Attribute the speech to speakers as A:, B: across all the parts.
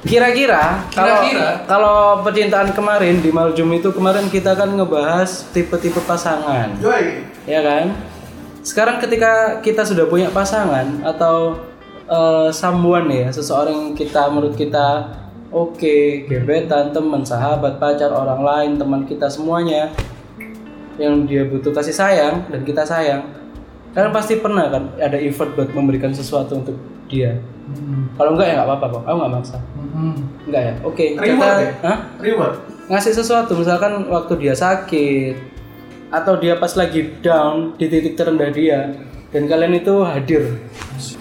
A: Kira-kira kalau
B: Kira-kira.
A: kalau percintaan kemarin di Maljum itu kemarin kita kan ngebahas tipe-tipe pasangan.
B: Joy.
A: ya kan? Sekarang ketika kita sudah punya pasangan atau eh, someone ya, seseorang yang kita menurut kita oke, gebetan, teman, sahabat, pacar, orang lain, teman kita semuanya yang dia butuh kasih sayang dan kita sayang. Kalian pasti pernah kan ada effort buat memberikan sesuatu untuk dia. Kalau enggak ya nggak apa-apa kok. Aku nggak maksa. Enggak ya. Oke, kita
B: Reward ya?
A: Hah?
B: Reward.
A: ngasih sesuatu misalkan waktu dia sakit atau dia pas lagi down di titik terendah dia dan kalian itu hadir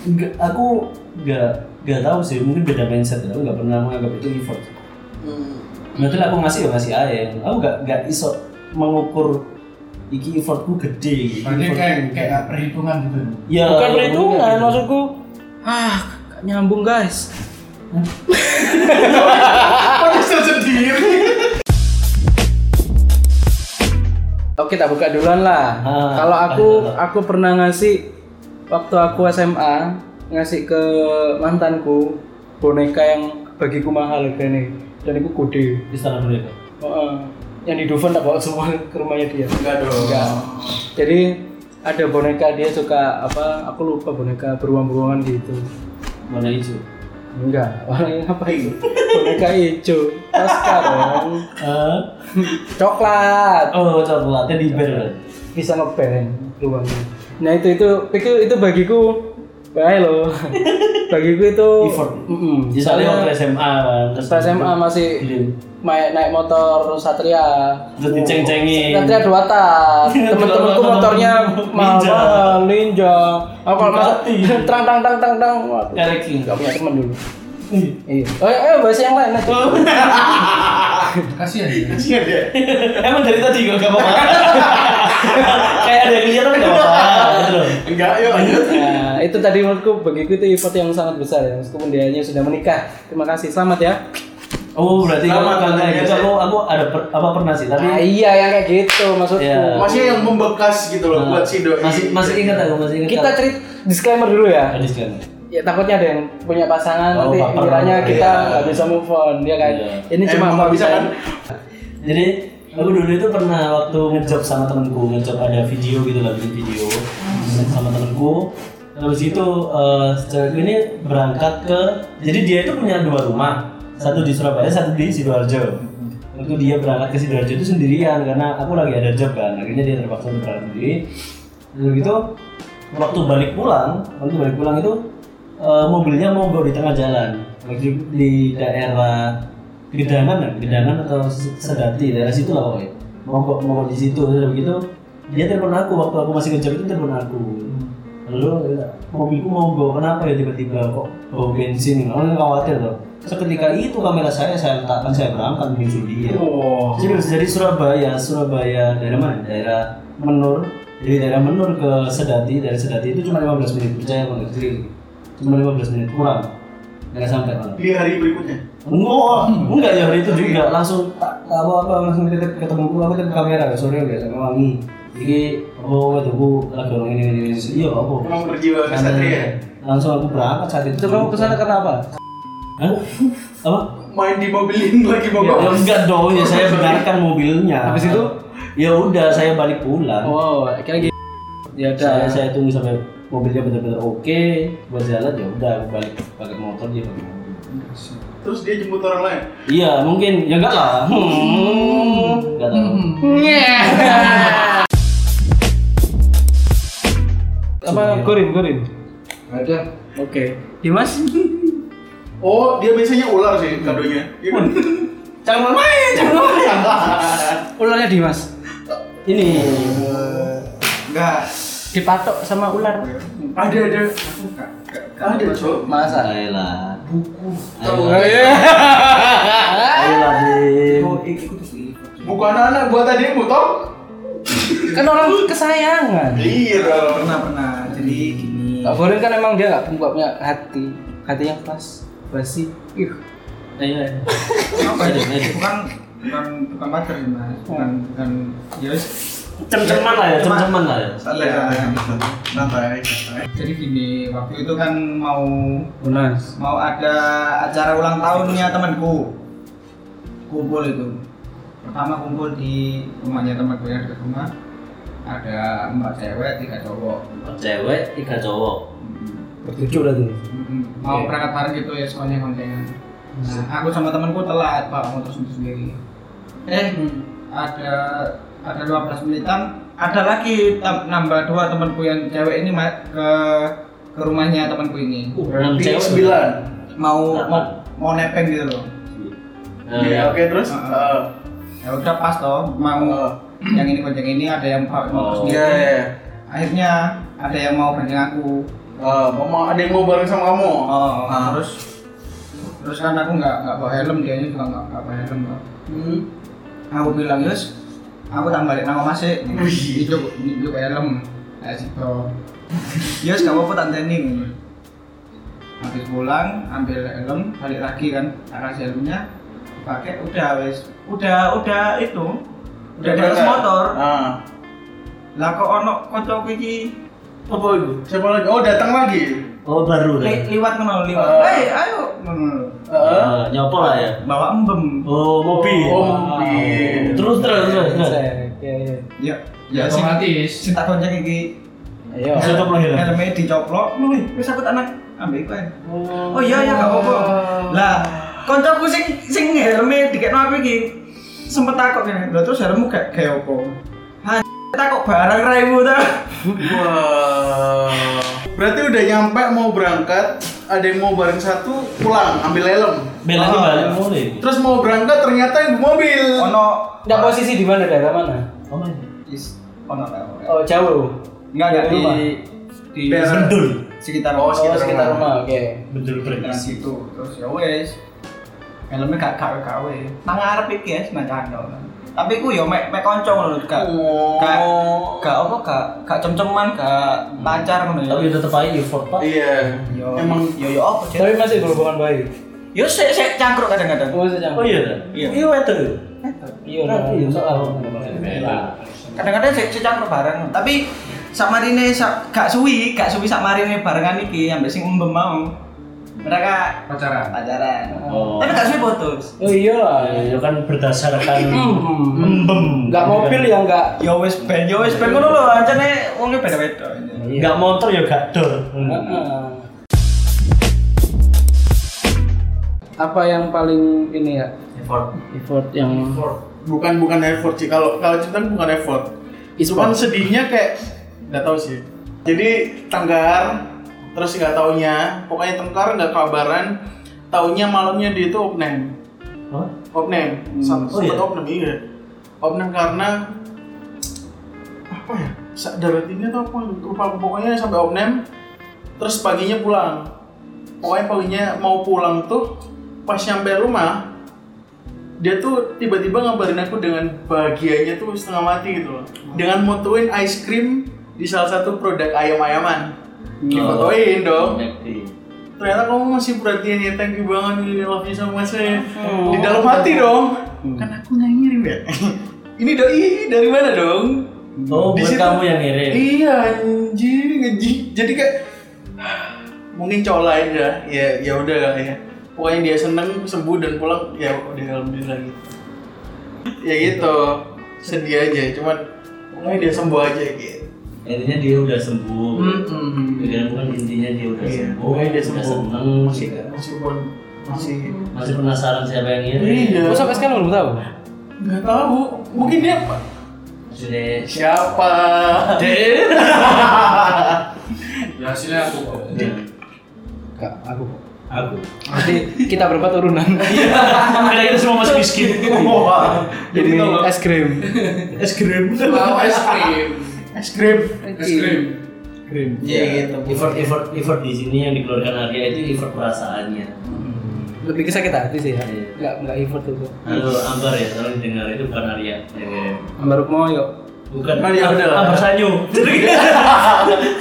C: Nggak- aku nggak nggak tahu sih mungkin beda mindset ya. aku nggak pernah menganggap itu effort berarti lah aku ngasih ya ngasih aja aku nggak nggak iso mengukur iki effortku gede iki
B: Berarti
C: effort-
B: kayak kayak nggak perhitungan gitu.
C: ya,
A: bukan
C: ya,
A: perhitungan
C: mungkin.
A: maksudku ah nggak nyambung guys
B: Kok bisa sendiri?
A: oke tak Oh, buka duluan lah
C: Ah,
A: kalau aku
C: ah,
A: aku pernah ngasih waktu aku SMA ngasih ke mantanku boneka yang bagiku mahal gini dan itu kode
C: di sana dulu ya Kak.
A: Heeh. yang di Dufan tak bawa semua ke rumahnya dia
B: Enggak dong.
A: Enggak. Jadi ada boneka dia suka apa? Aku lupa boneka beruang-beruangan gitu.
C: warna hijau
A: Enggak. Orang apa itu? boneka hijau. Tosca dong.
C: Eh,
A: Coklat.
C: oh coklat teddy bear
A: Bisa ngeband beruangnya. Nah itu itu itu itu bagiku bahaya loh. bagiku itu.
C: Effort.
A: Mm-mm.
C: misalnya waktu
A: Soalnya
C: SMA kan Iya. terus
A: pas SMA masih
C: Belum.
A: main naik motor Satria.
C: terus diceng-cengin
A: Satria dua tak. Temen-temenku motornya
C: Ninja.
A: mahal, ninja. Aku kalau masuk
C: Ducati.
A: terang terang terang terang terang. Waduh.
C: Eric King
A: Gak punya temen dulu. Iya. Oh, eh, bahasa yang lain aja.
C: Oh.
B: Kasihan ya. Kasihan ya.
C: Emang dari tadi gak gak apa-apa Kayak ada yang lihat tapi gak apa-apa gitu loh.
B: Enggak, yuk lanjut.
A: Nah, itu tadi menurutku bagiku itu effort yang sangat besar ya. Meskipun dia hanya sudah menikah. Terima kasih. Selamat ya.
C: Oh berarti
B: Selamat,
C: kalau kalau kayak
B: selamat.
C: gitu aku, aku ada per- apa pernah sih tapi
A: Nah, iya yang kayak gitu maksudku.
C: Iya.
B: Masih yang membekas gitu loh buat si doi.
C: Nah, masih masih ingat aku masih ingat
A: Kita cerit disclaimer dulu ya.
C: Ada disclaimer.
A: Ya takutnya ada yang punya pasangan
C: Oh,
A: nanti
C: baper.
A: kiranya kita
C: Iya.
A: nggak bisa move on, ya kan?
C: Iya.
A: Ini
B: Eh,
A: cuma
B: emang
A: mau
B: bisa kan?
C: Jadi aku dulu itu pernah waktu ngejob sama temenku, ngejob ada video gitu lah, bikin video sama temenku. Terus itu eh cewek ini berangkat ke, jadi dia itu punya dua rumah, satu di Surabaya, satu di sidoarjo. Waktu dia berangkat ke sidoarjo itu sendirian karena aku lagi ada job kan, akhirnya dia terpaksa untuk berangkat sendiri. Lalu gitu, waktu balik pulang, waktu balik pulang itu eh, mobilnya mogok di tengah jalan, lagi di daerah Gedangan ya? Gedangan atau Sedati, daerah situ lah pokoknya. Mogok, mogok di situ, udah begitu. Dia telepon aku waktu aku masih ngejar itu telepon aku. Lalu mobilku mogok, kenapa ya tiba-tiba kok bau bensin? Orang khawatir loh. Terus ketika itu kamera saya saya letakkan saya berangkat menyusul dia.
B: Oh.
C: Jadi harus dari Surabaya, Surabaya daerah mana? Daerah Menur. Jadi daerah Menur ke Sedati, dari Sedati itu cuma 15 menit, percaya apa nggak? Serius. Cuma 15 menit kurang. Nggak sampai malah.
B: Di hari berikutnya.
C: Enggak, enggak ya hari itu juga langsung tak tak apa apa langsung kita ketemu gua aku tadi kamera sore biasa wangi. Jadi oh itu gua lagi orang ini ini ini iya apa?
B: Emang berjiwa kesatria.
C: Langsung aku berangkat saat itu.
A: Itu kamu kesana karena apa?
C: Hah? Apa?
B: Main dimobilin lagi
C: Ya,
B: mogok.
C: enggak dong ya saya benarkan mobilnya.
A: Habis itu?
C: Ya udah saya balik pulang.
A: Oh, akhirnya gitu. Ya
C: Saya
A: udah.
C: saya tunggu sampai mobilnya benar-benar oke buat jalan ya udah aku balik pakai motor dia pakai mobil.
B: Terus dia jemput orang lain.
C: Iya mungkin ya enggak lah. Hmm. Enggak tahu.
A: Apa Gorin, Gorin?
B: Ada.
A: Oke. Dimas?
B: Oh, dia biasanya ular sih kadonya. Iya kan?
C: Jangan
A: eh,
C: main, jangan main.
A: Ularnya Dimas.
C: Ini
B: Eh, Enggak.
A: Dipatok sama ular.
B: Ada ada. Enggak, enggak, enggak Ada, Cok.
A: Masa?
C: Ayla.
B: Buku.
C: Ayla. Ayla Din.
B: Buku anak-anak buat tadi mau tau?
A: Kan orang kesayangan.
B: Iya.
D: pernah pernah jadi gini
A: Kak Gorin kan emang dia nggak nggak punya hati. hatinya pas basi ih
C: Ayo, ayo.
D: apa ya?
C: Iya, iya.
D: Bukan bukan bukan pacar ya mas, bukan bukan ya wis.
C: Cem-ceman lah ya, cem-ceman lah ya.
D: Santai, santai.
B: santai santai
D: Jadi gini, waktu itu kan mau
A: lunas
D: mau ada acara ulang tahunnya temanku. Kumpul itu. Pertama kumpul di rumahnya temanku yang dekat rumah. Ada empat cewek, tiga cowok.
C: Empat cewek, tiga cowok.
A: lucu berarti
D: Mm-mm.
B: Iya.
D: Mau
C: Oke.
D: berangkat bareng gitu ya soalnya kontengan. Nah, aku sama temanku telat, Pak, motor sendiri sendiri. Eh, ada ada 15 menitan, ada lagi tam- nambah dua temanku yang cewek ini ma- ke ke rumahnya temanku ini.
C: Uh, enam cewek.
B: sembilan
D: Mau
C: Delapan.
D: mau, mau nepeng gitu loh.
C: Nah,
B: Iya, oke terus
D: Ah.
B: Heeh.
D: Ya udah pas toh, mau
B: Oh.
D: yang ini bonceng ini ada yang bawa motor
C: Oh.
D: sendiri.
B: iya iya
D: Akhirnya ada yang mau bonceng aku.
B: Eh, mau mau- ada yang mau bareng sama kamu
D: Oh,
B: Ah.
D: terus terus kan aku nggak nggak bawa helm, dia juga nggak nggak bawa helm. Pak.
B: Hmm.
D: aku bilang yus aku tak balik nang masih
B: Wih.
D: itu itu helm ya situ yus gak apa-apa tak tanding habis pulang ambil helm balik lagi kan tak kasih helmnya pakai udah wes udah udah itu udah di atas
B: berangkat.
D: motor
B: Ah.
D: lah kok ono kocok iki
C: apa itu?
B: siapa lagi oh datang lagi
C: Oh, baru
D: li,
C: kan?
D: liwat ngono liwat
B: Ah.
D: hei ayo ngono
B: Heeh.
C: Eh, nyopo lah ya.
D: bawa embem
C: Oh, mobil.
B: Ah, Oh, mobil.
C: Terus terus terus. terus.
A: ya ya
D: ya
E: Ya,
D: sing-
E: otomatis.
D: sing tak kocok iki
A: ayo
C: Ditutup lah ya.
D: helmnya dicoplok lu wih, wis aku tak nang ambek iku ae.
C: Oh,
D: Oh iya iya gak apa-apa. Lah, koncoku sing sing helme dikekno aku iki sempet takut ngene. Lah terus helmmu gak kayak apa? Ha takut barang raimu ta.
B: Wah. Berarti udah nyampe mau berangkat, ada yang mau bareng satu pulang ambil helm.
C: Belanya
D: Ah.
C: balik mulai.
B: Terus mau berangkat ternyata yang di mobil.
D: Ono
A: nggak posisi di mana daerah mana
C: Oh, my.
D: is ono apa?
A: oh jauh
D: Enggak enggak di
A: Rumah.
D: di
B: Daerah.
C: Bendul.
D: sekitar
B: Oh,
A: oh
B: sekitar
A: sekitar rumah oke
C: Bendul
D: sekitar
C: breaks.
D: situ. Terus ya wis. Helmnya gak kawe kawe. Nang arep iki ya nang candol. Tapi ku yo mek mek kanca ngono gak. Gak
B: Oh.
D: gak apa gak gak cem-ceman gak lancar ngono ya.
C: Tapi tetep aja effort, Pak.
B: Iya.
D: Yo,
B: Emang
D: yo yo apa Cek?
A: tapi masih berhubungan baik
D: Yo saya saya cangkruk kadang-kadang.
A: oh sejam
C: Oh iya.
D: Iya.
C: Iya, itu.
A: iya
C: Berarti
A: nah.
C: iya, soal.
D: Kadang-kadang saya, saya cangkruk bareng. Tapi sama Rine sa- gak suwi, gak suwi sama Rine barengan iki ambek sing mbem mau. Mereka
E: pacaran
D: pacaran.
C: Oh.
D: Tapi gak suwi putus.
A: oh iya lah
C: Ah, Itu kan berdasarkan
A: Hmm.
C: embem.
A: nggak mobil ya nggak
D: Yo wis ben, yo wis ben ngono lho, ancane wonge beda-beda.
C: Enggak motor ya gak dor.
A: Heeh. apa yang paling ini ya
C: Effort.
A: effort yang
B: bukan bukan effort sih. Kalau kalau cinta bukan effort. Cuman sedihnya kayak nggak tahu sih. Jadi tengkar terus nggak taunya, pokoknya tengkar nggak kabaran, taunya malamnya dia itu opname.
C: Hah?
B: Opname, Sam-
C: Oh,
B: sempet
C: iya?
B: Opname iya. Opname karena apa ya? Sadar tinggi atau apa? Lupa pokoknya sampai Opname terus paginya pulang. Pokoknya paginya mau pulang tuh pas nyampe rumah dia tuh tiba-tiba ngabarin aku dengan bahagianya tuh setengah mati gitu loh. Dengan mutuin ice cream di salah satu produk ayam-ayaman.
C: Nah.
B: Difotoin dong ternyata kamu masih perhatian ya thank you banget nih love you so much ya di dalam hati dong kan aku nggak ngirim ya ini doi dari mana dong
C: Oh,
B: Di
C: buat
B: situ-
C: kamu yang ngirim.
B: iya anjing anjing jadi kayak mungkin cowok lain ya ya ya udah lah ya pokoknya dia seneng sembuh dan pulang ya udah alhamdulillah gitu ya gitu sedih aja cuman pokoknya dia sembuh aja gitu
C: Intinya dia udah sembuh.
B: Mm-mm.
C: Pikiranmu kan intinya dia udah
B: Iya,
C: sembuh.
B: pokoknya dia
C: udah
B: sembuh. Iya.
C: seneng.
B: masih masih masih
C: Masih penasaran siapa yang ngirim?
B: Iya.
A: Gua sampai sekarang belum tahu
B: Gak tahu, mungkin dia
C: Maksudnya
B: Iya. siapa?
E: ya hasilnya aku kok
A: Enggak, aku
C: aku.
A: Jadi kita berempat urunan
C: Karena kita semua masih miskin.
A: Jadi es krim
C: Es krim.
E: mau es krim
B: Es krim.
E: es krim
B: Iya gitu.
C: Effort, effort, effort di sini yang dikeluarkan Arya itu effort perasaannya.
A: Lebih ke sakit hati sih ya
C: Iya.
A: Enggak, enggak effort itu
C: Halo Ambar ya, tolong dengar itu bukan Arya. Ya, ya.
A: Ambaruk Moyo
C: bukan
B: Oh, ya udah lah.
C: Apa sanyu?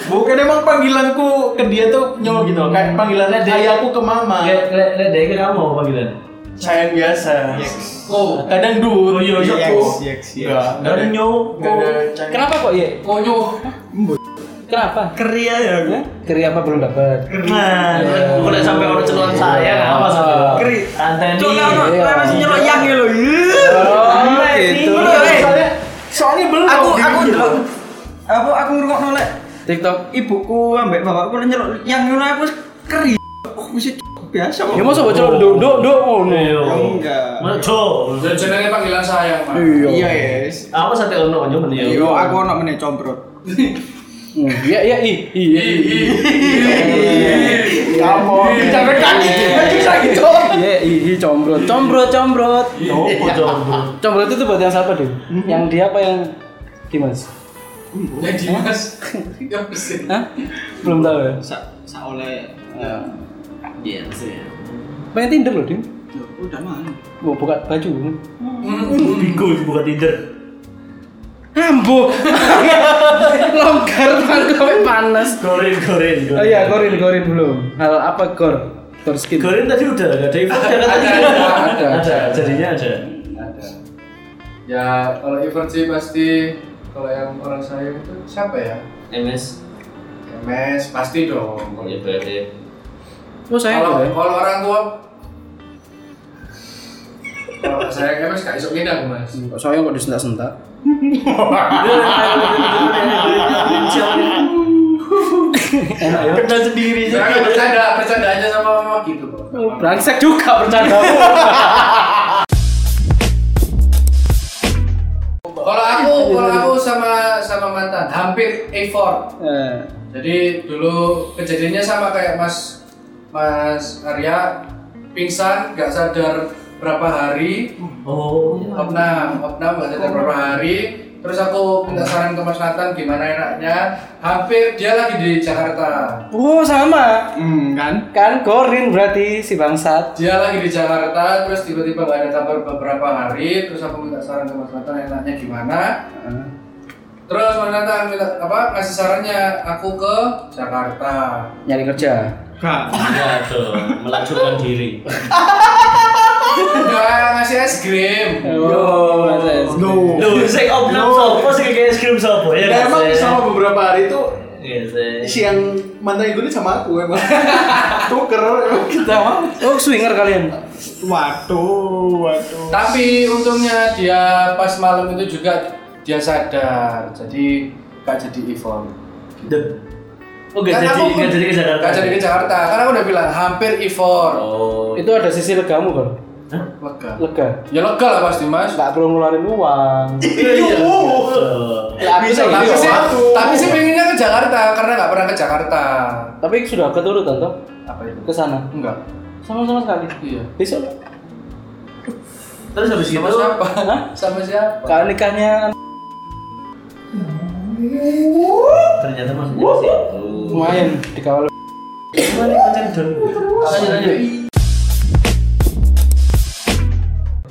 B: Bukan emang panggilanku ke dia tuh nyol gitu loh. Kayak panggilannya
C: Dia-
B: ayahku ke mama.
C: Lihat lihat lihat dari kamu apa panggilan?
B: Sayang biasa.
E: Ko,
B: Kadang dud.
C: Oh, iya, iya,
B: Ko.
D: yes, yes, yes.
B: Enggak, enggak ada.
C: Sanyu.
B: Enggak ada cang-
A: Kenapa kok ya?
E: konyo.
A: Kenapa?
D: Keria ya aku.
A: Keri apa belum dapat?
D: Nah,
C: Bukan sampai orang celuan saya, apa sama?
D: Keri.
C: Santai nih.
D: Cok kamu
A: iya.
D: masih nyeloyang ya lo.
A: Oh, gitu.
D: eh.
B: Soalnya soalnya belum.
D: Aku aku
B: Gitu.
D: ndelok. Apa aku ngrungokno lek
A: TikTok.
D: ibuku ambek bapakku nyelok yang ngono aku keri. Aku mesti biasa kok.
A: Ya masa bocor do do do ngono.
C: Iya.
D: Enggak.
C: Mejo.
E: Dan jenenge panggilan sayang, Pak.
A: Iya.
D: Iya, yes.
C: Apa sate ono konyo men ya?
D: Yo aku ono meneh comprot.
A: Hmm, Iya iya i i.
B: Kamu bicara rekan gitu. Susah gitu.
A: Iya i i combrot. Combrot combrot.
C: Opo jomblo.
A: Combrot itu buat yang siapa, Dim? Yang dia apa yang Dimas?
E: Ya Dimas. Ya mesin.
A: Hah? Belum tahu ya.
D: Sa sa oleh Iya, sih.
A: Pengen Tinder loh, Dim.
D: Udah mana?
A: Mau buka baju.
C: Bingo buka Tinder.
A: Ambo. Longgar banget sampai panas.
C: Gorin gorin.
A: Oh iya, korin korin belum. Hal apa kor? Kor skin.
C: Gorin tadi udah nggak ada info kan tadi.
E: Ada,
A: ada.
C: Ada, jadinya ada.
E: Ada. Ya kalau event sih pasti kalau yang orang saya itu siapa ya?
C: MS.
E: MS pasti dong.
C: Ya berarti.
A: Oh saya.
E: Kalau
A: enggak ya?
E: kalau orang tua kalau saya MS gak iso pindah Mas.
A: Saya kok disentak-sentak. ya.
B: Kena sendiri.
E: Saya kan bercanda, bercanda aja sama mama gitu kok.
A: Brengsek juga bercanda.
E: Kalau aku, kalau aku sama sama mantan hampir effort.
A: Eh,
E: Jadi dulu kejadiannya sama kayak Mas Mas Arya pingsan nggak sadar berapa hari
C: Oh.
E: opnam opnam nggak sadar berapa hari terus aku minta saran ke Mas Nathan gimana enaknya hampir dia lagi di Jakarta
A: Oh sama.
D: Hmm, kan?
A: Kan korin berarti si bangsat.
E: dia lagi di Jakarta terus tiba-tiba nggak ada kabar beberapa hari terus aku minta saran ke Mas Nathan enaknya gimana terus Mas Nathan minta apa ngasih sarannya aku ke Jakarta
A: Nyari kerja.
D: Enggak.
C: Ya tuh, melacurkan diri.
E: nggak ngasih es krim
A: Oh, Mas.
B: No.
C: Loh, saya opnam sopo sih kayak es krim sopo ya?
B: Ya,
C: nggak
B: emang
C: sih?
B: selama beberapa hari itu
C: Iya sih.
B: si yang mantan itu sama aku emang tuker emang kita emang
A: Oh swinger kalian.
D: Waduh, waduh.
E: Tapi untungnya dia pas malam itu juga dia sadar, jadi gak jadi event.
C: The- Oh nggak jadi,
E: Karena aku-
C: nggak jadi ke Jakarta.
E: Gak jadi ke Jakarta, karena aku udah bilang hampir event.
C: Oh.
A: Itu ada sisi legamu kor.
E: Lega.
A: Lega.
E: Ya lega lah pasti mas.
A: Gak perlu ngeluarin uang.
C: Iya,
B: Iya,
A: Ya, aku
B: Bisa,
A: sih-
E: Tapi sih,
B: Satu.
E: tapi sih pengennya ke Jakarta karena gak pernah ke Jakarta.
A: Tapi sudah keturutan toh
E: Apa itu?
A: ke sana.
E: Enggak.
A: Sama-sama sekali.
E: Iya.
A: Besok
C: Terus habis
E: Sama
C: itu
E: siapa?
A: Hah?
E: Sama siapa?
A: kalau nikahnya
C: ternyata maksudnya sih.
A: lumayan dikawal.
C: Gimana pacar Don? Lanjut lanjut.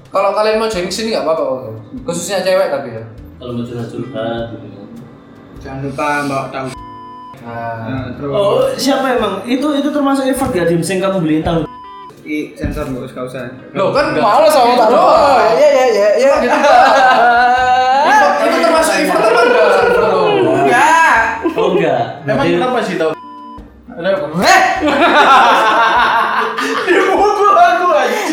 E: Kalau kalian mau join sini nggak apa-apa Om. Khususnya cewek tapi ya.
C: Kalau mau curhat-curhat gitu kan.
D: Jangan lupa bawa tahu.
E: Nah,
D: Nah, terus
C: Oh, siapa emang? Itu itu termasuk effort gak Dim? Sing kamu beliin tahu.
D: i sensor nggak usah usah.
E: lo kan
A: Malah sama tak
E: Itu doang.
A: Iya iya iya iya.
E: Event- Ah, Itu termasuk event apa enggak?
D: Enggak.
C: Oh enggak.
B: emang
C: Berarti-
B: kenapa sih tau ada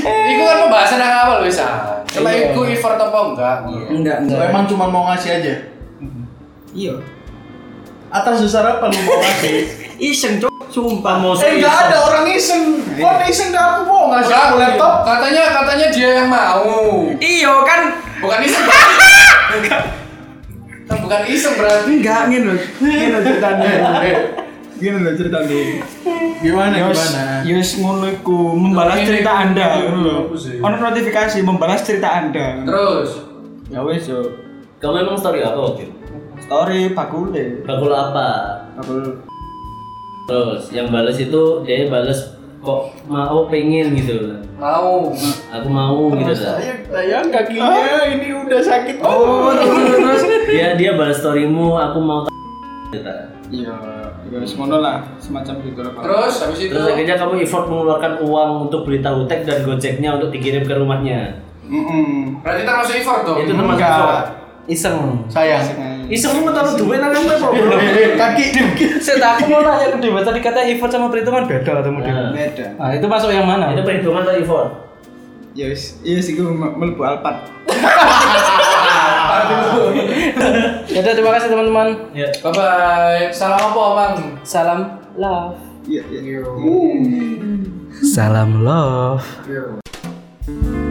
E: Iku kan pembahasan yang awal bisa. Cuma
A: Iya.
E: iku effort apa enggak?
D: Enggak, enggak.
B: emang cuma mau ngasih aja
D: Iya.
B: atas dasar apa lu mau ngasih
D: Iseng, Cok. Sumpah.
C: Kamu
B: eh nggak ada orang iseng kok iseng nggak aku mau ngasih aku laptop
E: Katanya katanya dia yang mau.
D: Iya kan
E: Bukan iseng. Kan bukan iseng berarti.
D: enggak ngene lho. Ngene lho ceritanya.
B: Eh,
D: Ngene lho ceritanya.
B: gimana
D: Yus,
B: gimana
D: Yus Ya, ngono iku membalas
E: Ngene
D: cerita
E: iku.
D: Anda ngono lho.
E: Apa sih?
D: Ono notifikasi membalas cerita Anda.
E: Terus
D: Ya wis yo.
C: Kamu emang story apa waktu itu?
D: Story bakule.
C: Bakul apa?
D: Bakul
C: Terus yang bales itu dia bales kok mau pengen gitu loh
E: mau
C: aku mau gitu
B: Oh,
C: lah
B: Saya sayang kakinya ini udah sakit
E: oh
B: banget.
E: terus
C: dia dia balas storymu aku mau t- gitu lah.
D: Iya, ya semono lah, semacam gitu lah. Pak.
E: terus habis itu
C: terus akhirnya kamu effort mengeluarkan uang untuk beli tahu tek dan gojeknya untuk dikirim ke rumahnya
D: Hmm.
B: Mm-mm.
E: berarti termasuk effort dong
C: itu termasuk
B: Enggak.
C: effort
A: Iseng.
B: Sayang.
C: iseng lu taruh duit nang apa Nah,
B: Eh,
C: problem
B: eh, Kaki
A: Saya tak aku mau nanya ke Dewa tadi kata effort sama perhitungan beda ketemu Dewa.
C: Nah,
D: Beda.
A: Nah, itu masuk yang mana?
C: itu perhitungan atau effort
D: Ya wis, iya sih gue melebu alpat.
A: Ya udah, terima kasih teman-teman.
C: ya
E: bye bye salam apa mang
A: Salam love.
D: Iya, iya.
A: Salam love.
E: Yo.